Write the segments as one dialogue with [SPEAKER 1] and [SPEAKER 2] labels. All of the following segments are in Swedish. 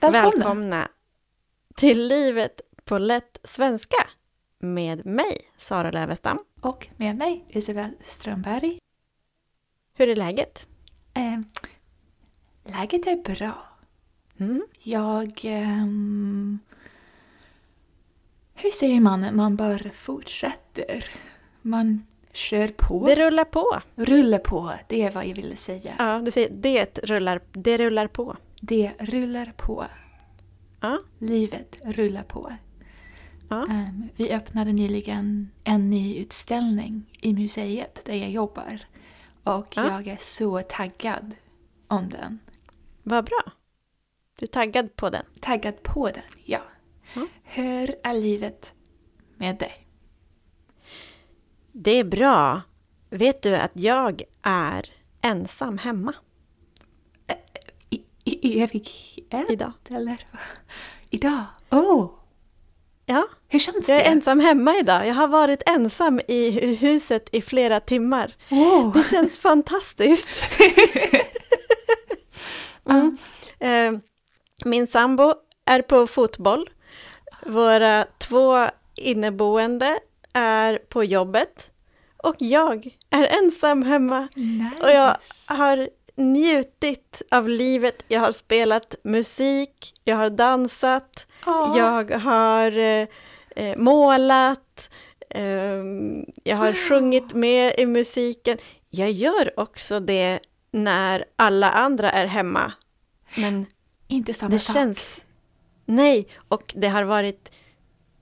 [SPEAKER 1] Välkomna.
[SPEAKER 2] Välkomna till Livet på lätt svenska med mig, Sara Lövestam.
[SPEAKER 1] Och med mig, Isabel Strömberg.
[SPEAKER 2] Hur är läget?
[SPEAKER 1] Eh, läget är bra.
[SPEAKER 2] Mm.
[SPEAKER 1] Jag... ehm, hur säger man? Man bara fortsätter. Man kör på.
[SPEAKER 2] Det rullar på.
[SPEAKER 1] rullar på, det är vad jag ville säga.
[SPEAKER 2] Ja, du säger det rullar, det rullar på.
[SPEAKER 1] Det rullar på.
[SPEAKER 2] Ja.
[SPEAKER 1] Livet rullar på.
[SPEAKER 2] Ja.
[SPEAKER 1] Ehm, vi öppnade nyligen en ny utställning i museet där jag jobbar. Och
[SPEAKER 2] Ja.
[SPEAKER 1] jag är så taggad om den.
[SPEAKER 2] Vad bra. Du är taggad på den.
[SPEAKER 1] Taggad på den, ja.
[SPEAKER 2] Ja.
[SPEAKER 1] Hur är livet med dig?
[SPEAKER 2] Det är bra. Vet du att jag är ensam hemma
[SPEAKER 1] I, i evighet?
[SPEAKER 2] idag?
[SPEAKER 1] Eller vad? Idag? Oh,
[SPEAKER 2] Ja,
[SPEAKER 1] hur känns
[SPEAKER 2] jag
[SPEAKER 1] det?
[SPEAKER 2] är ensam hemma idag. Jag har varit ensam i hu- huset i flera timmar.
[SPEAKER 1] Wow.
[SPEAKER 2] Det känns fantastiskt. Mm. Eh, Min sambo är på fotboll. Våra två inneboende är på jobbet. Och jag är ensam hemma.
[SPEAKER 1] Nice.
[SPEAKER 2] Och jag har njutit av livet. Jag har spelat musik, jag har dansat,
[SPEAKER 1] Åh.
[SPEAKER 2] jag har eh, eh, målat, ehm, jag har sjungit med i musiken. Jag gör också det när alla andra är hemma. Men
[SPEAKER 1] Inte samma
[SPEAKER 2] det
[SPEAKER 1] sak.
[SPEAKER 2] känns... Nej, och det har varit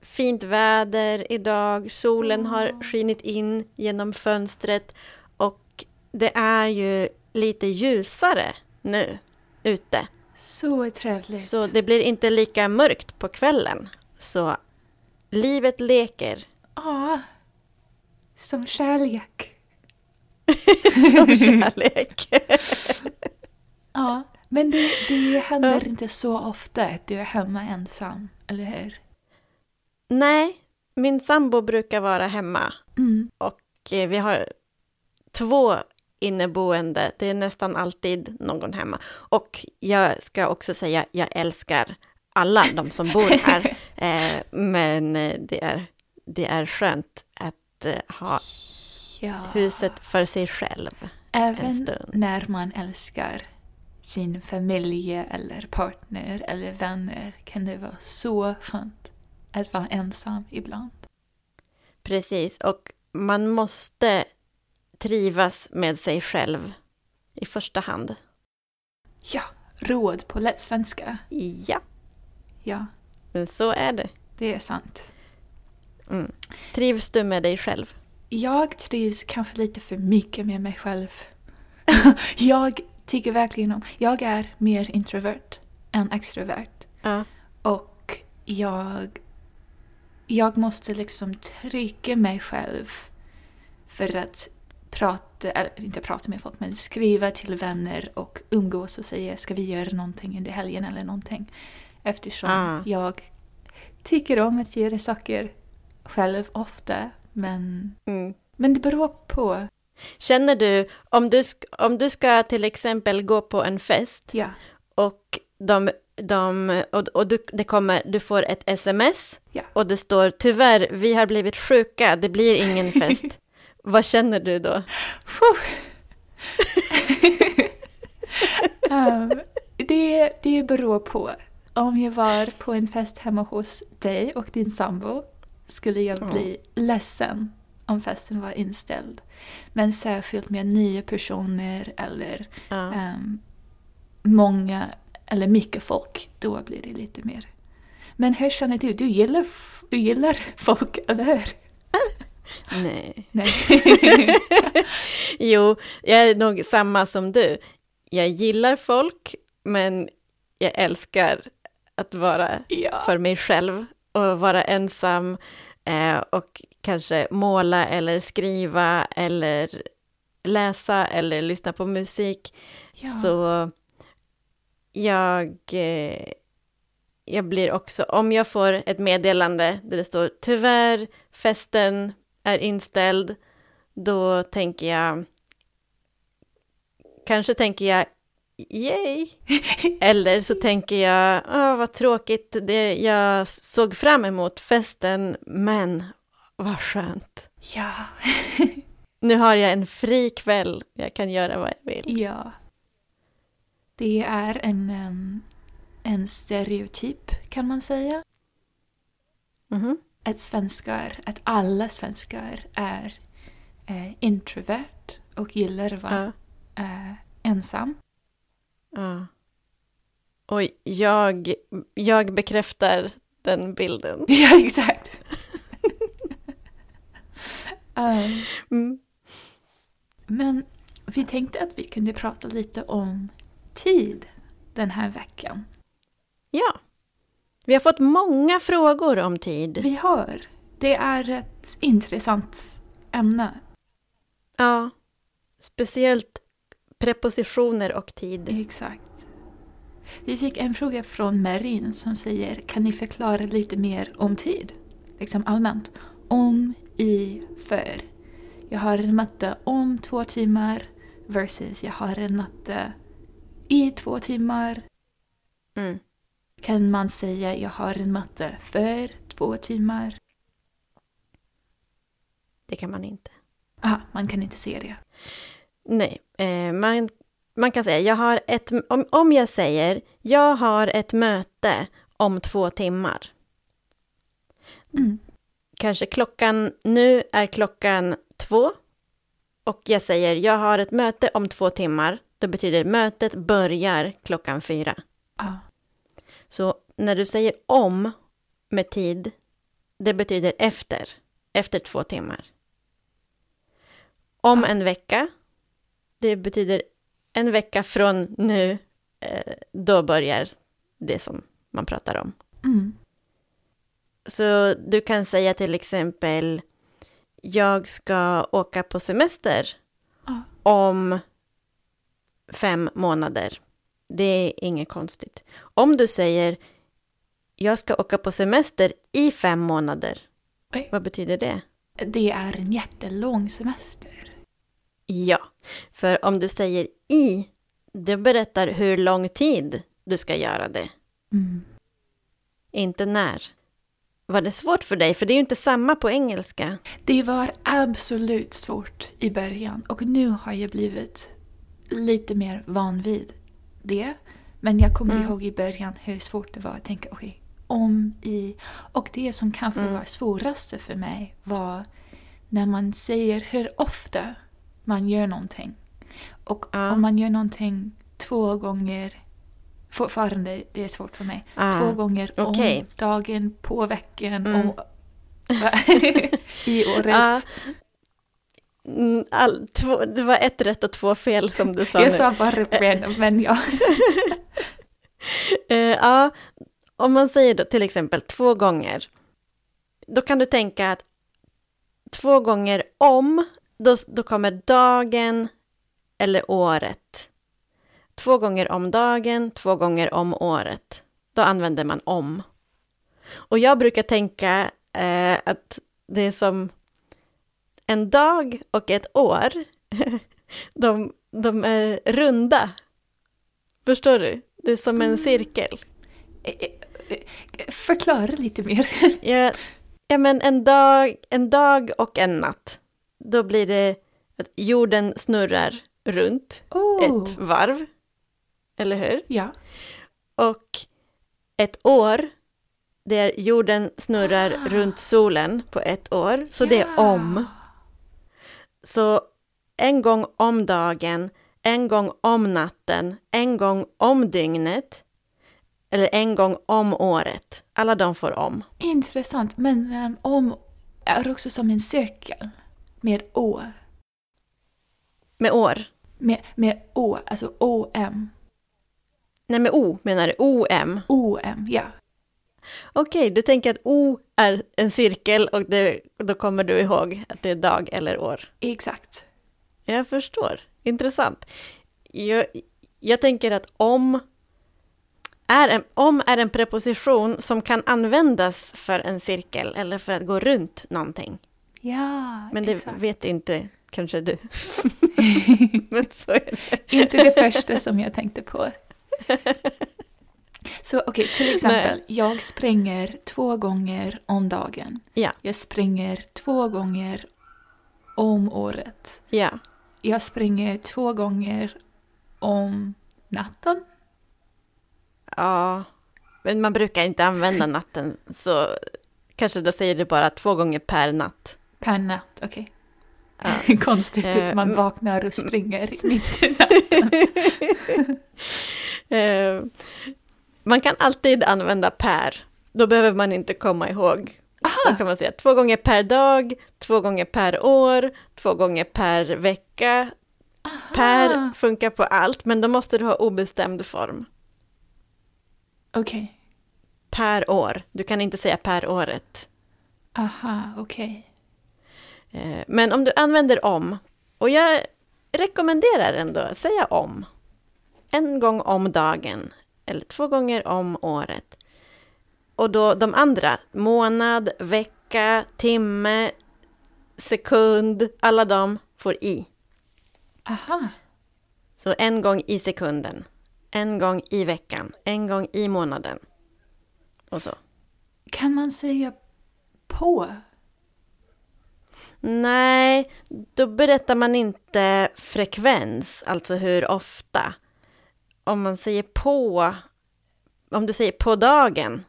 [SPEAKER 2] fint väder idag. Solen har skinit in genom fönstret och det är ju lite ljusare nu ute.
[SPEAKER 1] Så trevligt.
[SPEAKER 2] Så det blir inte lika mörkt på kvällen. Så livet leker
[SPEAKER 1] Ja, som kärlek.
[SPEAKER 2] som kärlek.
[SPEAKER 1] Ja, men det, det
[SPEAKER 2] Ja.
[SPEAKER 1] händer inte så ofta att du är hemma ensam, eller hur?
[SPEAKER 2] Nej, min sambo brukar vara hemma
[SPEAKER 1] Mm.
[SPEAKER 2] och eh, vi har två inneboende. Det är nästan alltid någon hemma. Och jag ska också säga, jag älskar alla de som bor här. Eh, men eh, det är, det är skönt att eh, ha
[SPEAKER 1] Ja.
[SPEAKER 2] huset för sig själv. en
[SPEAKER 1] Även
[SPEAKER 2] stund.
[SPEAKER 1] när man älskar sin familj eller partner eller vänner kan det vara så skönt att vara ensam ibland.
[SPEAKER 2] Precis, och man måste trivas med sig själv i första hand.
[SPEAKER 1] Ja, råd på lätt svenska.
[SPEAKER 2] Ja,
[SPEAKER 1] Ja,
[SPEAKER 2] men så är det.
[SPEAKER 1] det är sant.
[SPEAKER 2] Mm. Trivs du med dig själv?
[SPEAKER 1] Jag trivs kanske lite för mycket med mig själv. jag tycker verkligen om... Jag är mer introvert än extrovert.
[SPEAKER 2] Ja.
[SPEAKER 1] Och jag... Jag måste liksom trycka mig själv för att prata, eller inte prata med folk, men skriva till vänner och umgås och säga ska vi göra någonting under helgen eller någonting. Eftersom
[SPEAKER 2] Ah.
[SPEAKER 1] jag tycker om att göra saker själv ofta, men
[SPEAKER 2] Mm.
[SPEAKER 1] men det beror på.
[SPEAKER 2] Känner du, om du, sk- om du ska till exempel gå på en fest
[SPEAKER 1] Ja.
[SPEAKER 2] och, de, de, och, och du, det kommer, du får ett sms
[SPEAKER 1] Ja.
[SPEAKER 2] och det står tyvärr, vi har blivit sjuka, det blir ingen fest. Vad känner du då?
[SPEAKER 1] Ehm, det, det beror på. Om jag var på en fest hemma hos dig och din sambo skulle jag bli ledsen om festen var inställd. Men särskilt med nya personer eller
[SPEAKER 2] Ja.
[SPEAKER 1] ehm, många eller mycket folk, då blir det lite mer. Men hur känner du? Du gillar, f- du gillar folk, eller hur?
[SPEAKER 2] Nej.
[SPEAKER 1] Nej.
[SPEAKER 2] Jo, jag är nog samma som du. Jag gillar folk, men jag älskar att vara
[SPEAKER 1] ja.
[SPEAKER 2] för mig själv och vara ensam eh, och kanske måla eller skriva eller läsa eller lyssna på musik.
[SPEAKER 1] ja.
[SPEAKER 2] Så jag, eh, jag blir också, om jag får ett meddelande där det står tyvärr festen är inställd, då tänker jag, kanske tänker jag yay! Eller så tänker jag, Åh, vad tråkigt, det, jag såg fram emot festen, men vad skönt.
[SPEAKER 1] Ja,
[SPEAKER 2] Nu har jag en fri kväll, jag kan göra vad jag vill.
[SPEAKER 1] ja. Det är en, em, en stereotyp kan man säga.
[SPEAKER 2] Mhm.
[SPEAKER 1] Att svenskar, att alla svenskar är eh, introvert och gillar att vara
[SPEAKER 2] Ja,
[SPEAKER 1] eh, ensam.
[SPEAKER 2] ja. Och jag, jag bekräftar den bilden.
[SPEAKER 1] Ja, exakt. Em,
[SPEAKER 2] Mm.
[SPEAKER 1] Eh, Men vi tänkte att vi kunde prata lite om tid den här veckan.
[SPEAKER 2] Ja. Vi har fått många frågor om tid.
[SPEAKER 1] Vi har. Det är ett intressant ämne.
[SPEAKER 2] Ja. Speciellt prepositioner och tid.
[SPEAKER 1] Exakt. Vi fick en fråga från Marin som säger Kan ni förklara lite mer om tid? Liksom allmänt. Om, i, för. Jag har en matte om två timmar versus jag har en matte i två timmar.
[SPEAKER 2] Mm.
[SPEAKER 1] Kan man säga jag har en matte för två timmar?
[SPEAKER 2] Det kan man inte.
[SPEAKER 1] Aha, man kan inte se det.
[SPEAKER 2] Nej, eh, man, man kan säga jag har ett... Om, om jag säger jag har ett möte om två timmar.
[SPEAKER 1] Mm.
[SPEAKER 2] Kanske klockan... Nu är klockan två. Och jag säger jag har ett möte om två timmar. Då betyder mötet börjar klockan fyra.
[SPEAKER 1] Ja,
[SPEAKER 2] Så när du säger om med tid, det betyder efter, efter två timmar. Om en vecka, det betyder en vecka från nu, eh, då börjar det som man pratar om.
[SPEAKER 1] mm.
[SPEAKER 2] Så du kan säga till exempel, jag ska åka på semester
[SPEAKER 1] Ja.
[SPEAKER 2] om fem månader. Det är inget konstigt. Om du säger, jag ska åka på semester i fem månader.
[SPEAKER 1] Oj.
[SPEAKER 2] Vad betyder det?
[SPEAKER 1] Det är en jättelång semester.
[SPEAKER 2] Ja, för om du säger i, det berättar hur lång tid du ska göra det,
[SPEAKER 1] Mm.
[SPEAKER 2] inte när. Var det svårt för dig? För det är ju inte samma på engelska.
[SPEAKER 1] Det var absolut svårt i början och nu har jag blivit lite mer van vid det. Men jag kommer
[SPEAKER 2] Mm.
[SPEAKER 1] ihåg i början hur svårt det var att tänka okej, om, i. Och det som kanske
[SPEAKER 2] Mm.
[SPEAKER 1] var svåraste för mig var när man säger hur ofta man gör någonting. Och
[SPEAKER 2] Ja.
[SPEAKER 1] om man gör någonting två gånger, fortfarande det är svårt för mig,
[SPEAKER 2] Ah.
[SPEAKER 1] två gånger om
[SPEAKER 2] okej.
[SPEAKER 1] dagen, på veckan
[SPEAKER 2] Mm.
[SPEAKER 1] och i året.
[SPEAKER 2] Ja. Mm, All, två, det var ett rätt och två fel som du sa nu.
[SPEAKER 1] jag sa bara random, men ja.
[SPEAKER 2] Eh, ja, om man säger då till exempel två gånger, då kan du tänka att två gånger om, då, då kommer dagen eller året. Två gånger om dagen, två gånger om året. Då använder man om. Och jag brukar tänka eh, att det är som en dag och ett år, de, de är runda. Förstår du? Det är som en cirkel.
[SPEAKER 1] Förklara lite mer.
[SPEAKER 2] Ja, ja men en dag, en dag och en natt. Då blir det att jorden snurrar runt
[SPEAKER 1] Oh.
[SPEAKER 2] ett varv. Eller hur?
[SPEAKER 1] Ja.
[SPEAKER 2] Och ett år, det är jorden snurrar
[SPEAKER 1] Ah.
[SPEAKER 2] runt solen på ett år. Så det är
[SPEAKER 1] Ja.
[SPEAKER 2] om. Så en gång om dagen, en gång om natten, en gång om dygnet. Eller en gång om året. Alla de får om.
[SPEAKER 1] Intressant, men ehm, om är också som en cirkel med å.
[SPEAKER 2] Med år.
[SPEAKER 1] Med, med å, alltså O-M.
[SPEAKER 2] Nej, med O menar du. O-M.
[SPEAKER 1] O-M, ja.
[SPEAKER 2] Okej, du tänker att O är en cirkel och det, då kommer du ihåg att det är dag eller år.
[SPEAKER 1] Exakt.
[SPEAKER 2] Jag förstår. Intressant. Jag, jag tänker att om är, en, om är en preposition som kan användas för en cirkel eller för att gå runt någonting.
[SPEAKER 1] Ja,
[SPEAKER 2] Men det
[SPEAKER 1] exakt.
[SPEAKER 2] vet inte kanske du. Men så är det.
[SPEAKER 1] Inte det första som jag tänkte på. Så okej, till exempel, jag springer två gånger om dagen.
[SPEAKER 2] Ja.
[SPEAKER 1] Jag springer två gånger om året.
[SPEAKER 2] Ja,
[SPEAKER 1] Jag springer två gånger om natten.
[SPEAKER 2] ja. Men man brukar inte använda natten, så kanske då säger du bara två gånger per natt.
[SPEAKER 1] Per natt, okej.
[SPEAKER 2] Ja.
[SPEAKER 1] Konstigt
[SPEAKER 2] Eh,
[SPEAKER 1] att man
[SPEAKER 2] men-
[SPEAKER 1] vaknar och springer mitt i
[SPEAKER 2] Eh, man kan alltid använda per. Då behöver man inte komma ihåg.
[SPEAKER 1] Ah.
[SPEAKER 2] Då kan man säga två gånger per dag, två gånger per år, två gånger per vecka. Per
[SPEAKER 1] Aha.
[SPEAKER 2] funkar på allt, men då måste du ha obestämd form.
[SPEAKER 1] Okej,
[SPEAKER 2] Per år. Du kan inte säga per året.
[SPEAKER 1] aha, okej.
[SPEAKER 2] Eh, Men om du använder om, och jag rekommenderar ändå att säga om. En gång om dagen, eller två gånger om året. Och då de andra, månad, vecka, timme, sekund, alla de får i.
[SPEAKER 1] Aha,
[SPEAKER 2] Så en gång i sekunden, en gång i veckan, en gång i månaden. Och så.
[SPEAKER 1] kan man säga på?
[SPEAKER 2] Nej, då berättar man inte frekvens, alltså hur ofta. Om man säger på, om du säger på dagen,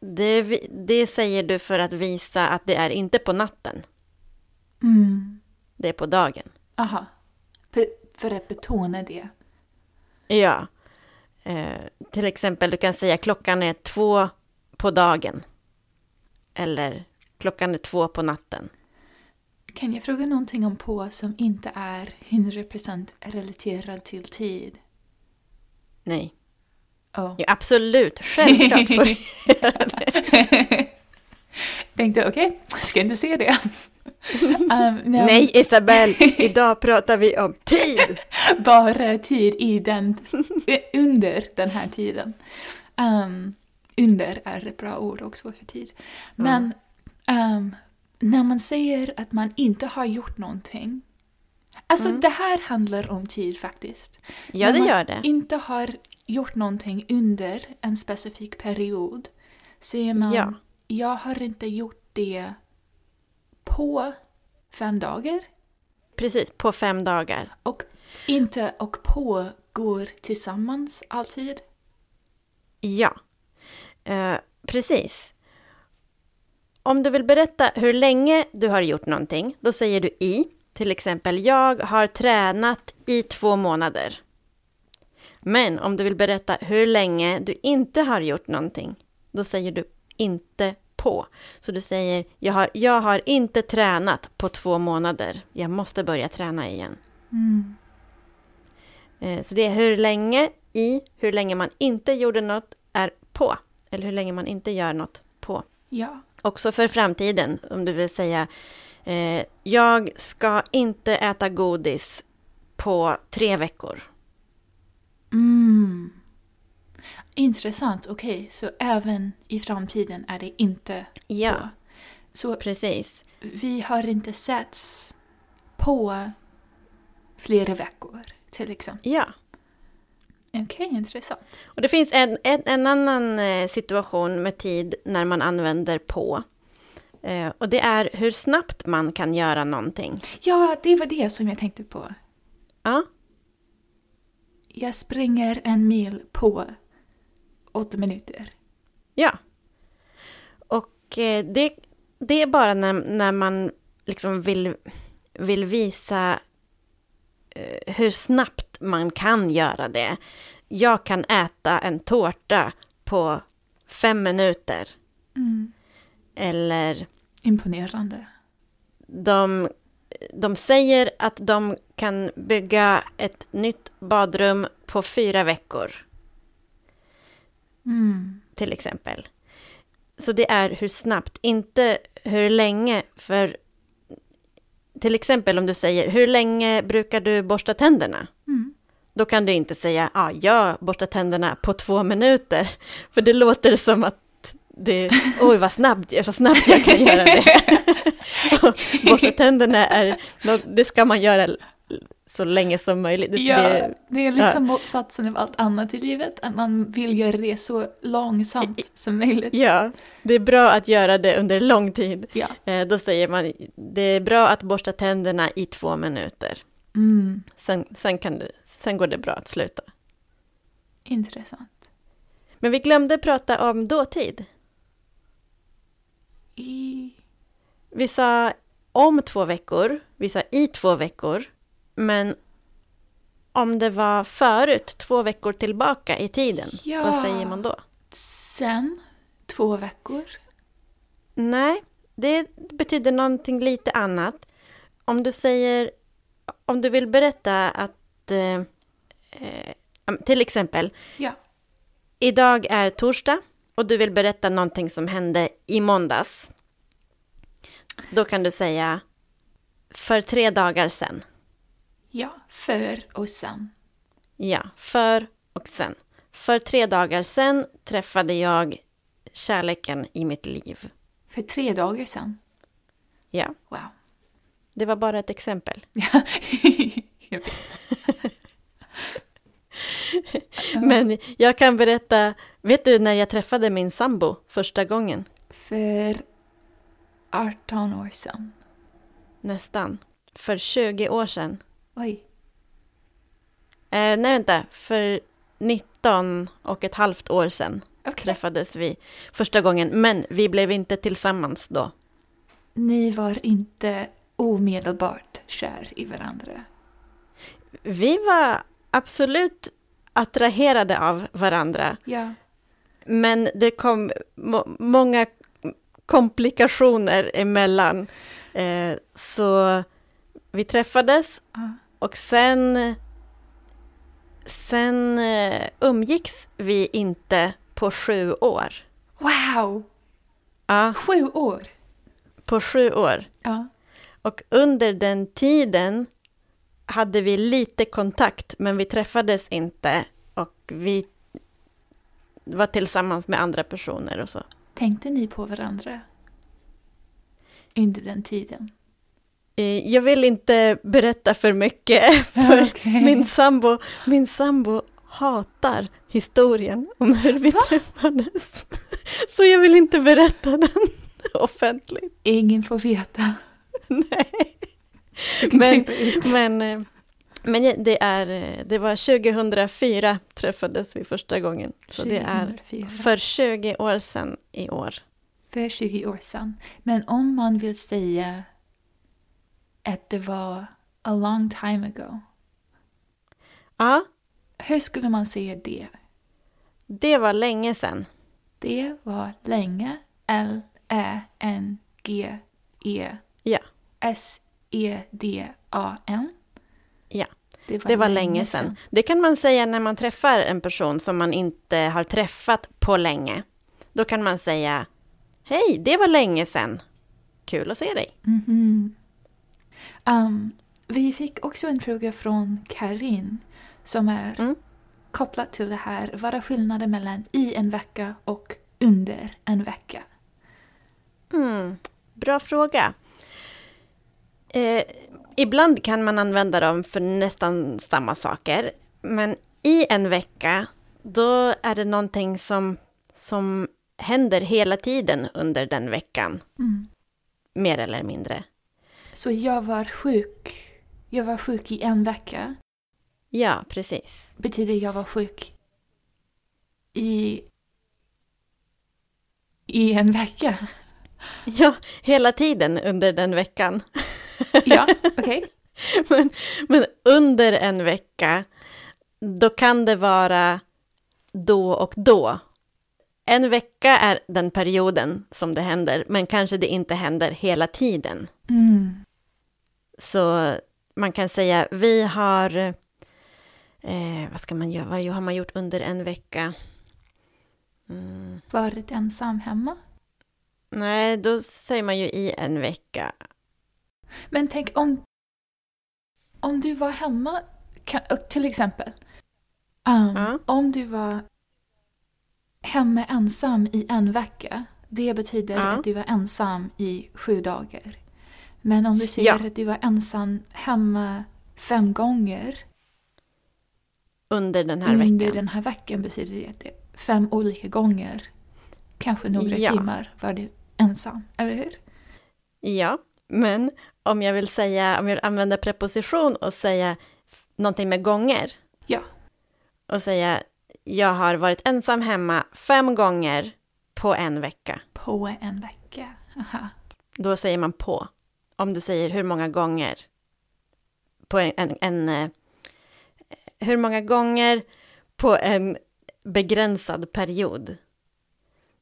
[SPEAKER 2] det, vi- det säger du för att visa att det är inte på natten,
[SPEAKER 1] Mm.
[SPEAKER 2] det är på dagen.
[SPEAKER 1] Aha, för, för att betona det.
[SPEAKER 2] Ja, eh, till exempel du kan säga klockan är två på dagen. Eller klockan är två på natten.
[SPEAKER 1] Kan jag fråga någonting om på som inte är 100% relaterad till tid?
[SPEAKER 2] Nej,
[SPEAKER 1] Oh.
[SPEAKER 2] ja, absolut, självklart får du
[SPEAKER 1] Tänkte okej, ska inte se det. Ehm, men
[SPEAKER 2] Nej, Isabel, idag pratar vi om tid.
[SPEAKER 1] Bara tid i den, eh, under den här tiden. Ehm, under är ett bra ord också för tid. Men ehm, när man säger att man inte har gjort någonting. Alltså
[SPEAKER 2] Mm.
[SPEAKER 1] det här handlar om tid faktiskt.
[SPEAKER 2] Ja,
[SPEAKER 1] När
[SPEAKER 2] det
[SPEAKER 1] man
[SPEAKER 2] gör det.
[SPEAKER 1] inte har gjort någonting under en specifik period säger man
[SPEAKER 2] Ja.
[SPEAKER 1] jag har inte gjort det på fem dagar.
[SPEAKER 2] Precis, på fem dagar.
[SPEAKER 1] Och inte och på går tillsammans alltid.
[SPEAKER 2] Ja, Eh, precis. Om du vill berätta hur länge du har gjort någonting, då säger du i. Till exempel, jag har tränat i två månader. Men om du vill berätta hur länge du inte har gjort någonting, då säger du inte på. Så du säger, jag har, jag har inte tränat på två månader. Jag måste börja träna igen.
[SPEAKER 1] Mm.
[SPEAKER 2] Eh, Så det är hur länge i, hur länge man inte gjorde något är på. Eller hur länge man inte gör något på.
[SPEAKER 1] Ja.
[SPEAKER 2] Också för framtiden, om du vill säga eh, jag ska inte äta godis på tre veckor.
[SPEAKER 1] Mm. Intressant, okej. Så även i framtiden är det inte
[SPEAKER 2] Ja,
[SPEAKER 1] på. Så
[SPEAKER 2] precis.
[SPEAKER 1] vi har inte setts på flera veckor till exempel.
[SPEAKER 2] Ja.
[SPEAKER 1] Okej, intressant.
[SPEAKER 2] Och det finns en, en, en annan eh, situation med tid när man använder på. Eh, och det är hur snabbt man kan göra någonting.
[SPEAKER 1] Ja, det var det som jag tänkte på.
[SPEAKER 2] Ja,
[SPEAKER 1] Jag springer en mil på åtta minuter.
[SPEAKER 2] Ja. Och eh, det, det är bara när, när man liksom vill, vill visa eh, hur snabbt man kan göra det. Jag kan äta en tårta på fem minuter.
[SPEAKER 1] Mm.
[SPEAKER 2] Eller
[SPEAKER 1] Imponerande.
[SPEAKER 2] de, de säger att de kan bygga ett nytt badrum på fyra veckor.
[SPEAKER 1] Mm.
[SPEAKER 2] till exempel. Så det är hur snabbt, inte hur länge. För till exempel om du säger, hur länge brukar du borsta tänderna?
[SPEAKER 1] Mm.
[SPEAKER 2] Då kan du inte säga, ja, jag borstar tänderna på två minuter. För det låter som att det, oj vad snabbt, jag- så snabbt jag kan göra det. Och borsta tänderna är, nå- det ska man göra l- så länge som möjligt. Det-
[SPEAKER 1] Ja,
[SPEAKER 2] det-
[SPEAKER 1] det är liksom motsatsen av allt annat i livet, att man vill göra det så långsamt som möjligt.
[SPEAKER 2] ja, det är bra att göra det under lång tid.
[SPEAKER 1] Ja.
[SPEAKER 2] Eh, då säger man det är bra att borsta tänderna i två minuter.
[SPEAKER 1] Mm,
[SPEAKER 2] Sen, sen, kan du, sen går det bra att sluta.
[SPEAKER 1] intressant.
[SPEAKER 2] Men vi glömde prata om dåtid.
[SPEAKER 1] I...
[SPEAKER 2] Vi sa om två veckor, vi sa i två veckor, men om det var förut, två veckor tillbaka i tiden,
[SPEAKER 1] Ja.
[SPEAKER 2] vad säger man då?
[SPEAKER 1] Sen, två veckor.
[SPEAKER 2] Nej, det betyder någonting lite annat. Om du säger, om du vill berätta att, eh, eh, till exempel,
[SPEAKER 1] Ja.
[SPEAKER 2] idag är torsdag och du vill berätta någonting som hände i måndags. Då kan du säga, för tre dagar sedan.
[SPEAKER 1] Ja, för och sen.
[SPEAKER 2] Ja, för och sen. För tre dagar sedan träffade jag kärleken i mitt liv.
[SPEAKER 1] För tre dagar sen.
[SPEAKER 2] Ja,
[SPEAKER 1] Wow.
[SPEAKER 2] det var bara ett exempel.
[SPEAKER 1] Ja. Jag vet.
[SPEAKER 2] Men jag kan berätta, vet du när jag träffade min sambo första gången?
[SPEAKER 1] för 18 år sen.
[SPEAKER 2] Nästan. För 20 år sedan.
[SPEAKER 1] Oj.
[SPEAKER 2] Eh, nej, vänta. För 19 och ett halvt år sedan
[SPEAKER 1] Okej.
[SPEAKER 2] träffades vi första gången. Men vi blev inte tillsammans då.
[SPEAKER 1] Ni var inte omedelbart kär i varandra.
[SPEAKER 2] Vi var absolut attraherade av varandra.
[SPEAKER 1] Ja.
[SPEAKER 2] Men det kom må- många komplikationer emellan. Eh, så vi träffades
[SPEAKER 1] ja.
[SPEAKER 2] Och sen, sen eh, umgicks vi inte på sju år.
[SPEAKER 1] Wow!
[SPEAKER 2] Ja,
[SPEAKER 1] Sju år!
[SPEAKER 2] på sju år.
[SPEAKER 1] Ja.
[SPEAKER 2] Och under den tiden hade vi lite kontakt, men vi träffades inte och vi var tillsammans med andra personer och så.
[SPEAKER 1] Tänkte ni på varandra? Under den tiden?
[SPEAKER 2] Eh, Jag vill inte berätta för mycket, för
[SPEAKER 1] Okej.
[SPEAKER 2] min, sambo, min sambo hatar historien om hur vi träffades. Så jag vill inte berätta den offentligt.
[SPEAKER 1] Ingen får veta.
[SPEAKER 2] Nej.
[SPEAKER 1] Du kan
[SPEAKER 2] Men-
[SPEAKER 1] klippa ut.
[SPEAKER 2] Men, eh, men jag- det, är, eh, det var 2004 träffades vi första gången. Så det är
[SPEAKER 1] 2004.
[SPEAKER 2] för 20 år sedan i år.
[SPEAKER 1] för 20 år sedan. Men om man vill säga att det var a long time ago,
[SPEAKER 2] Ja,
[SPEAKER 1] hur skulle man säga det?
[SPEAKER 2] det var länge sedan.
[SPEAKER 1] Det var länge. L-Ä-N-G-E-S-E-D-A-N.
[SPEAKER 2] Ja,
[SPEAKER 1] E,
[SPEAKER 2] ja. Det var länge sedan. Det kan man säga när man träffar en person som man inte har träffat på länge. Då kan man säga Hej, det var länge sedan. Kul att se dig.
[SPEAKER 1] Mhm. Ehm, vi fick också en fråga från Karin som är
[SPEAKER 2] Mm.
[SPEAKER 1] kopplad till det här. Vad är skillnaden mellan i en vecka och under en vecka?
[SPEAKER 2] Mm, bra fråga. Eh, ibland kan man använda dem för nästan samma saker. Men i en vecka, då är det någonting som, som händer hela tiden under den veckan.
[SPEAKER 1] Mm.
[SPEAKER 2] Mer eller mindre.
[SPEAKER 1] Så jag var sjuk. Jag var sjuk i en vecka.
[SPEAKER 2] Ja, precis.
[SPEAKER 1] Betyder jag var sjuk i... I en vecka?
[SPEAKER 2] Ja, hela tiden under den veckan.
[SPEAKER 1] Ja, okej.
[SPEAKER 2] Men, men under en vecka, då kan det vara då och då. En vecka är den perioden som det händer, men kanske det inte händer hela tiden.
[SPEAKER 1] Mm.
[SPEAKER 2] Så man kan säga, vi har... Eh, vad ska man göra? Vad har man gjort under en vecka? Mm,
[SPEAKER 1] Varit ensam hemma?
[SPEAKER 2] nej, då säger man ju i en vecka.
[SPEAKER 1] Men tänk om... Om du var hemma, kan, och till exempel. ehm,
[SPEAKER 2] Ja.
[SPEAKER 1] Om du var hemma ensam i en vecka. Det betyder
[SPEAKER 2] Ja.
[SPEAKER 1] att du var ensam i sju dagar. Men om du säger
[SPEAKER 2] Ja.
[SPEAKER 1] att du var ensam hemma fem gånger
[SPEAKER 2] under den här
[SPEAKER 1] under
[SPEAKER 2] veckan.
[SPEAKER 1] den här veckan betyder det att det är fem olika gånger, kanske några
[SPEAKER 2] Ja.
[SPEAKER 1] timmar, var du ensam, eller hur?
[SPEAKER 2] Ja, men om jag vill säga, om jag använder preposition och säga f- någonting med gånger.
[SPEAKER 1] Ja.
[SPEAKER 2] Och säga, jag har varit ensam hemma fem gånger på en vecka.
[SPEAKER 1] På en vecka. Aha.
[SPEAKER 2] Då säger man på. Om du säger hur många gånger på en, en, en eh, hur många gånger på en begränsad period.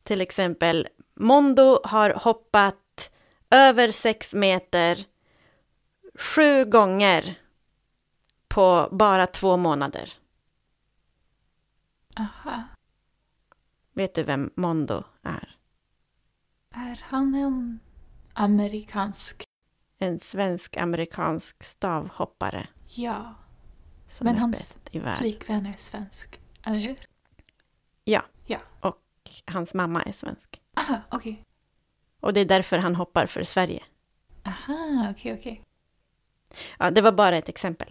[SPEAKER 2] Till exempel, Mondo har hoppat över sex meter sju gånger på bara två månader.
[SPEAKER 1] Aha.
[SPEAKER 2] Vet du vem Mondo är?
[SPEAKER 1] Är han en amerikansk?
[SPEAKER 2] En svensk-amerikansk stavhoppare
[SPEAKER 1] Ja.
[SPEAKER 2] som
[SPEAKER 1] Men
[SPEAKER 2] är
[SPEAKER 1] hans
[SPEAKER 2] bäst i världen.
[SPEAKER 1] Flickvän är svensk, eller hur?
[SPEAKER 2] Hans mamma är svensk.
[SPEAKER 1] Aha, okej.
[SPEAKER 2] Och det är därför han hoppar för Sverige.
[SPEAKER 1] Aha, okej, okej.
[SPEAKER 2] Ja, det var bara ett exempel.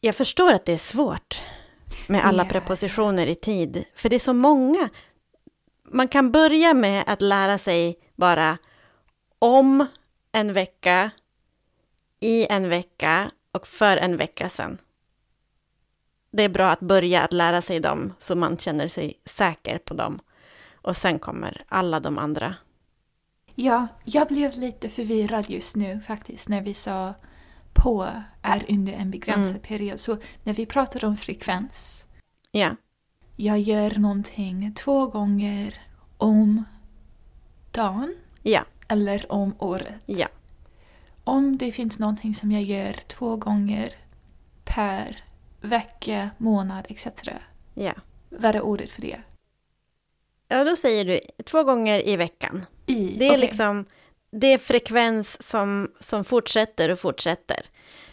[SPEAKER 2] Jag förstår att det är svårt med alla
[SPEAKER 1] Ja.
[SPEAKER 2] prepositioner i tid, för det är så många. Man kan börja med att lära sig bara om en vecka, i en vecka och för en vecka sedan. Det är bra att börja att lära sig dem så man känner sig säker på dem. Och sen kommer alla de andra.
[SPEAKER 1] Ja, jag blev lite förvirrad just nu faktiskt när vi sa på är under en begränsad
[SPEAKER 2] Mm.
[SPEAKER 1] period. Så när vi pratar om frekvens,
[SPEAKER 2] Ja,
[SPEAKER 1] jag gör någonting två gånger om dagen
[SPEAKER 2] ja,
[SPEAKER 1] eller om året.
[SPEAKER 2] ja.
[SPEAKER 1] Om det finns någonting som jag gör två gånger per vecka, månad etc.
[SPEAKER 2] ja.
[SPEAKER 1] Vad är ordet för det?
[SPEAKER 2] Ja, då säger du två gånger i veckan.
[SPEAKER 1] I.
[SPEAKER 2] Det är
[SPEAKER 1] okej,
[SPEAKER 2] liksom, det är frekvens som, som fortsätter och fortsätter.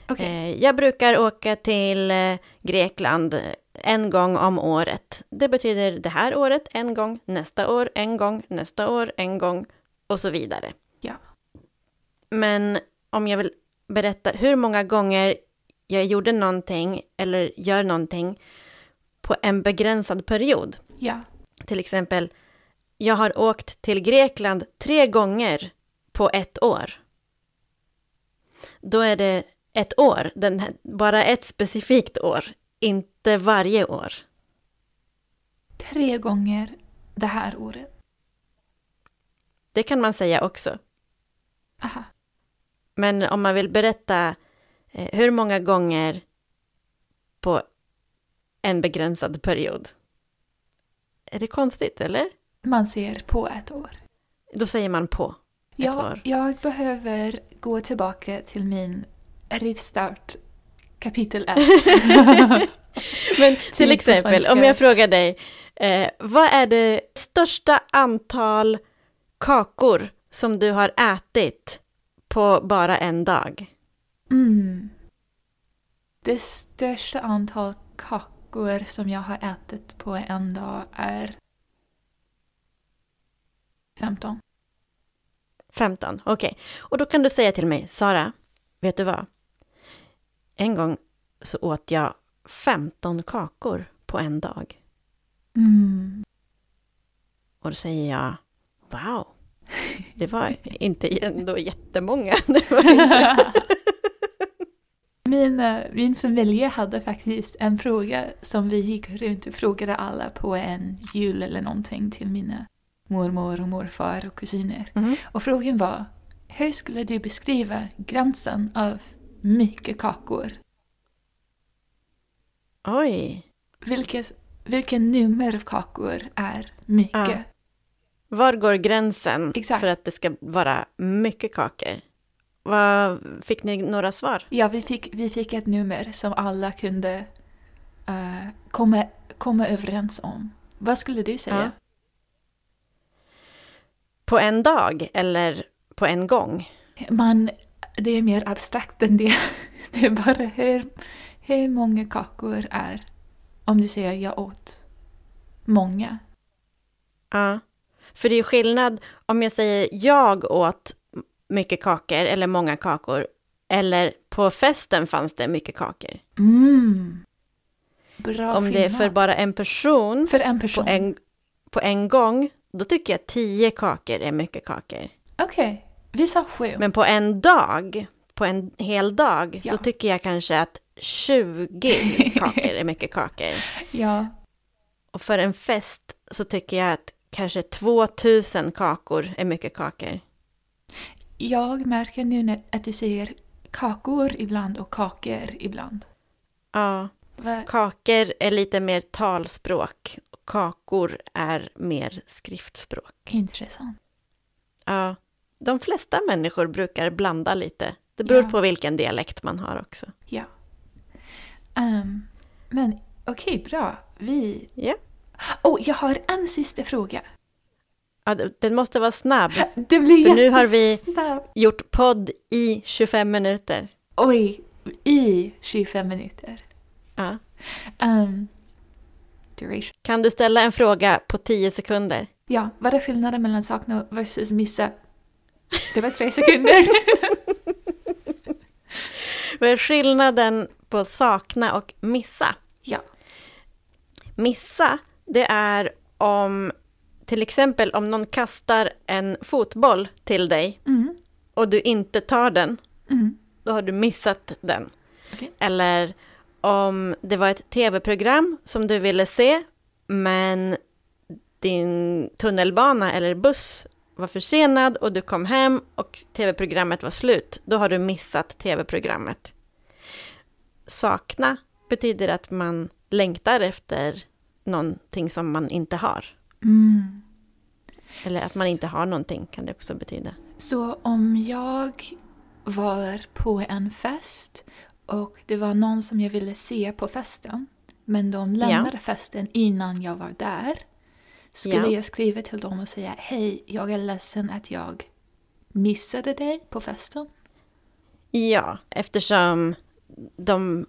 [SPEAKER 1] okej.
[SPEAKER 2] Eh, jag brukar åka till eh, Grekland eh, en gång om året. Det betyder det här året en gång, nästa år en gång, nästa år en gång och så vidare.
[SPEAKER 1] Ja.
[SPEAKER 2] Men om jag vill berätta hur många gånger jag gjorde någonting eller gör någonting på en begränsad period.
[SPEAKER 1] Ja.
[SPEAKER 2] Till exempel, jag har åkt till Grekland tre gånger på ett år. Då är det ett år, den här, bara ett specifikt år, inte varje år.
[SPEAKER 1] Tre gånger det här året.
[SPEAKER 2] Det kan man säga också.
[SPEAKER 1] Aha.
[SPEAKER 2] Men om man vill berätta eh, hur många gånger på en begränsad period. Är det konstigt, eller?
[SPEAKER 1] Man ser på ett år.
[SPEAKER 2] Då säger man på. Ett
[SPEAKER 1] Jag,
[SPEAKER 2] år.
[SPEAKER 1] jag behöver gå tillbaka till min rivstart kapitel 1.
[SPEAKER 2] Men till
[SPEAKER 1] på
[SPEAKER 2] exempel,
[SPEAKER 1] svenska.
[SPEAKER 2] om jag frågar dig, eh, vad är det största antal kakor som du har ätit på bara en dag?
[SPEAKER 1] Mm. Det största antal kakor som jag har ätit på en dag är 15.
[SPEAKER 2] 15, okej. Och då kan du säga till mig, Sara, vet du vad? En gång så åt jag 15 kakor på en dag.
[SPEAKER 1] Mm.
[SPEAKER 2] Och då säger jag, wow, det var inte ändå jättemånga. Det var inte-
[SPEAKER 1] min, eh, min familj hade faktiskt en fråga som vi gick runt och frågade alla på en jul eller någonting till mina mormor och morfar och kusiner.
[SPEAKER 2] Mhm.
[SPEAKER 1] Och frågan var, hur skulle du beskriva gränsen av mycket kakor?
[SPEAKER 2] Oj,
[SPEAKER 1] Vilket, vilken nummer av kakor är mycket?
[SPEAKER 2] Ja. Var går gränsen
[SPEAKER 1] Exakt.
[SPEAKER 2] för att det ska vara mycket kakor? Vad, fick ni några svar?
[SPEAKER 1] Ja, vi fick, vi fick ett nummer som alla kunde eh, komma, komma överens om. Vad skulle du säga?
[SPEAKER 2] På en dag eller på en gång?
[SPEAKER 1] Man, det är mer abstrakt än det. Det är bara hur, hur många kakor är. Om du säger jag åt många.
[SPEAKER 2] Ja. För det är ju skillnad om jag säger jag åt mycket kakor eller många kakor Eller på festen fanns det mycket kakor.
[SPEAKER 1] Mm. Bra
[SPEAKER 2] Om det är för
[SPEAKER 1] fyllnad.
[SPEAKER 2] bara en person,
[SPEAKER 1] För en
[SPEAKER 2] på
[SPEAKER 1] person?
[SPEAKER 2] en, på en gång, då tycker jag tio kakor är mycket kakor.
[SPEAKER 1] Okej, vi sa sju.
[SPEAKER 2] Men på en dag, på en hel dag,
[SPEAKER 1] Ja.
[SPEAKER 2] då tycker jag kanske att 20 kakor är mycket kakor.
[SPEAKER 1] Ja.
[SPEAKER 2] Och för en fest så tycker jag att kanske 2000 kakor är mycket kakor.
[SPEAKER 1] Jag märker nu när, att du säger kakor ibland och kakor ibland.
[SPEAKER 2] Ja,
[SPEAKER 1] Va?
[SPEAKER 2] kakor är lite mer talspråk och kakor är mer skriftspråk.
[SPEAKER 1] Intressant.
[SPEAKER 2] Ja, de flesta människor brukar blanda lite. Det beror
[SPEAKER 1] Ja.
[SPEAKER 2] på vilken dialekt man har också.
[SPEAKER 1] Ja. Ehm, men okej, bra. Vi...
[SPEAKER 2] Ja.
[SPEAKER 1] Oh, jag har en sista fråga.
[SPEAKER 2] Ja, det- den måste vara snabb.
[SPEAKER 1] Det blir
[SPEAKER 2] För nu har vi-
[SPEAKER 1] jättesnabbt.
[SPEAKER 2] Gjort podd i 25 minuter.
[SPEAKER 1] Oj, i 25 minuter.
[SPEAKER 2] Ja.
[SPEAKER 1] Ehm, duration.
[SPEAKER 2] Kan du ställa en fråga på 10 sekunder?
[SPEAKER 1] Ja, vad är skillnaden mellan sakna versus missa? Det var tre sekunder.
[SPEAKER 2] Vad är skillnaden på sakna och missa?
[SPEAKER 1] ja.
[SPEAKER 2] Missa, det är om till exempel om någon kastar en fotboll till dig
[SPEAKER 1] Mm.
[SPEAKER 2] och du inte tar den,
[SPEAKER 1] Mm.
[SPEAKER 2] då har du missat den.
[SPEAKER 1] Okej.
[SPEAKER 2] Eller om det var ett tv-program som du ville se, men din tunnelbana eller buss var försenad och du kom hem och tv-programmet var slut, då har du missat tv-programmet. Sakna betyder att man längtar efter någonting som man inte har.
[SPEAKER 1] Mm.
[SPEAKER 2] Eller att man inte har någonting kan det också betyda.
[SPEAKER 1] Så om jag var på en fest och det var någon som jag ville se på festen men de lämnade festen innan jag var där skulle
[SPEAKER 2] Ja.
[SPEAKER 1] jag skriva till dem och säga hej, jag är ledsen att jag missade dig på festen.
[SPEAKER 2] Ja, eftersom de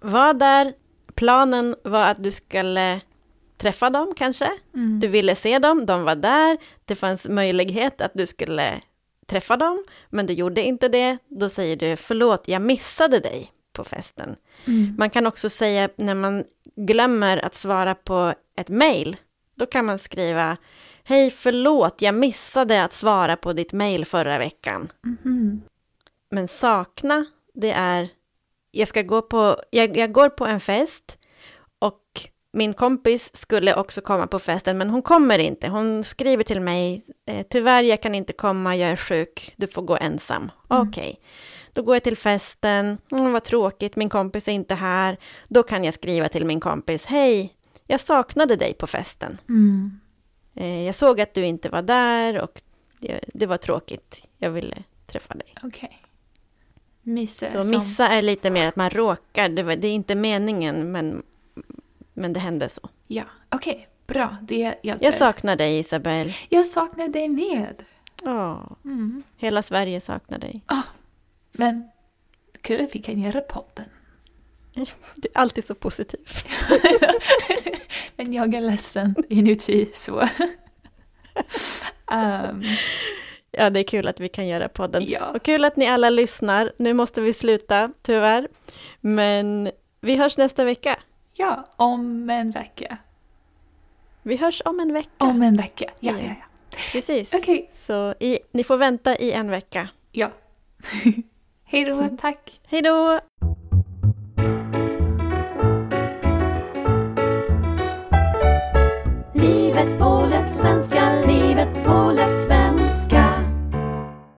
[SPEAKER 2] var där. Planen var att du skulle träffa dem kanske.
[SPEAKER 1] Mm.
[SPEAKER 2] Du ville se dem, de var där. Det fanns möjlighet att du skulle träffa dem, men du gjorde inte det. Då säger du förlåt, jag missade dig på festen.
[SPEAKER 1] Mm.
[SPEAKER 2] Man kan också säga när man glömmer att svara på ett mejl, då kan man skriva Hej, förlåt, jag missade att svara på ditt mejl förra veckan.
[SPEAKER 1] Mhm.
[SPEAKER 2] Men sakna, det är, jag ska gå på, jag, jag går på en fest och min kompis skulle också komma på festen, men hon kommer inte. Hon skriver till mig, eh, tyvärr jag kan inte komma, jag är sjuk, du får gå ensam.
[SPEAKER 1] Mm.
[SPEAKER 2] Okej, då går jag till festen, mm, vad tråkigt, min kompis är inte här. Då kan jag skriva till min kompis, hej, jag saknade dig på festen.
[SPEAKER 1] Mm.
[SPEAKER 2] Eh, Jag såg att du inte var där och det, det var tråkigt. Jag ville träffa dig.
[SPEAKER 1] Okej. Missa
[SPEAKER 2] Så
[SPEAKER 1] Eh, som...
[SPEAKER 2] missa är lite mer att man råkar. Det, var, det är inte meningen, men, men det hände så.
[SPEAKER 1] Ja, okej. Bra, det hjälper.
[SPEAKER 2] Jag saknar dig, Isabel.
[SPEAKER 1] jag saknar dig med.
[SPEAKER 2] Åh,
[SPEAKER 1] Mm.
[SPEAKER 2] hela Sverige saknar dig.
[SPEAKER 1] Men kul att vi kan göra podden.
[SPEAKER 2] Du är alltid så positiv.
[SPEAKER 1] Men jag är ledsen inuti så. Ehm,
[SPEAKER 2] Ja, det är kul att vi kan göra podden.
[SPEAKER 1] ja.
[SPEAKER 2] Och kul att ni alla lyssnar. Nu måste vi sluta, tyvärr. Men vi hörs nästa vecka.
[SPEAKER 1] ja, om en vecka.
[SPEAKER 2] Vi hörs om en vecka.
[SPEAKER 1] Om en vecka, ja, ja, ja.
[SPEAKER 2] Precis.
[SPEAKER 1] Okej,
[SPEAKER 2] Så i, ni får vänta i en vecka.
[SPEAKER 1] ja. Hej då, tack.
[SPEAKER 2] Hej då!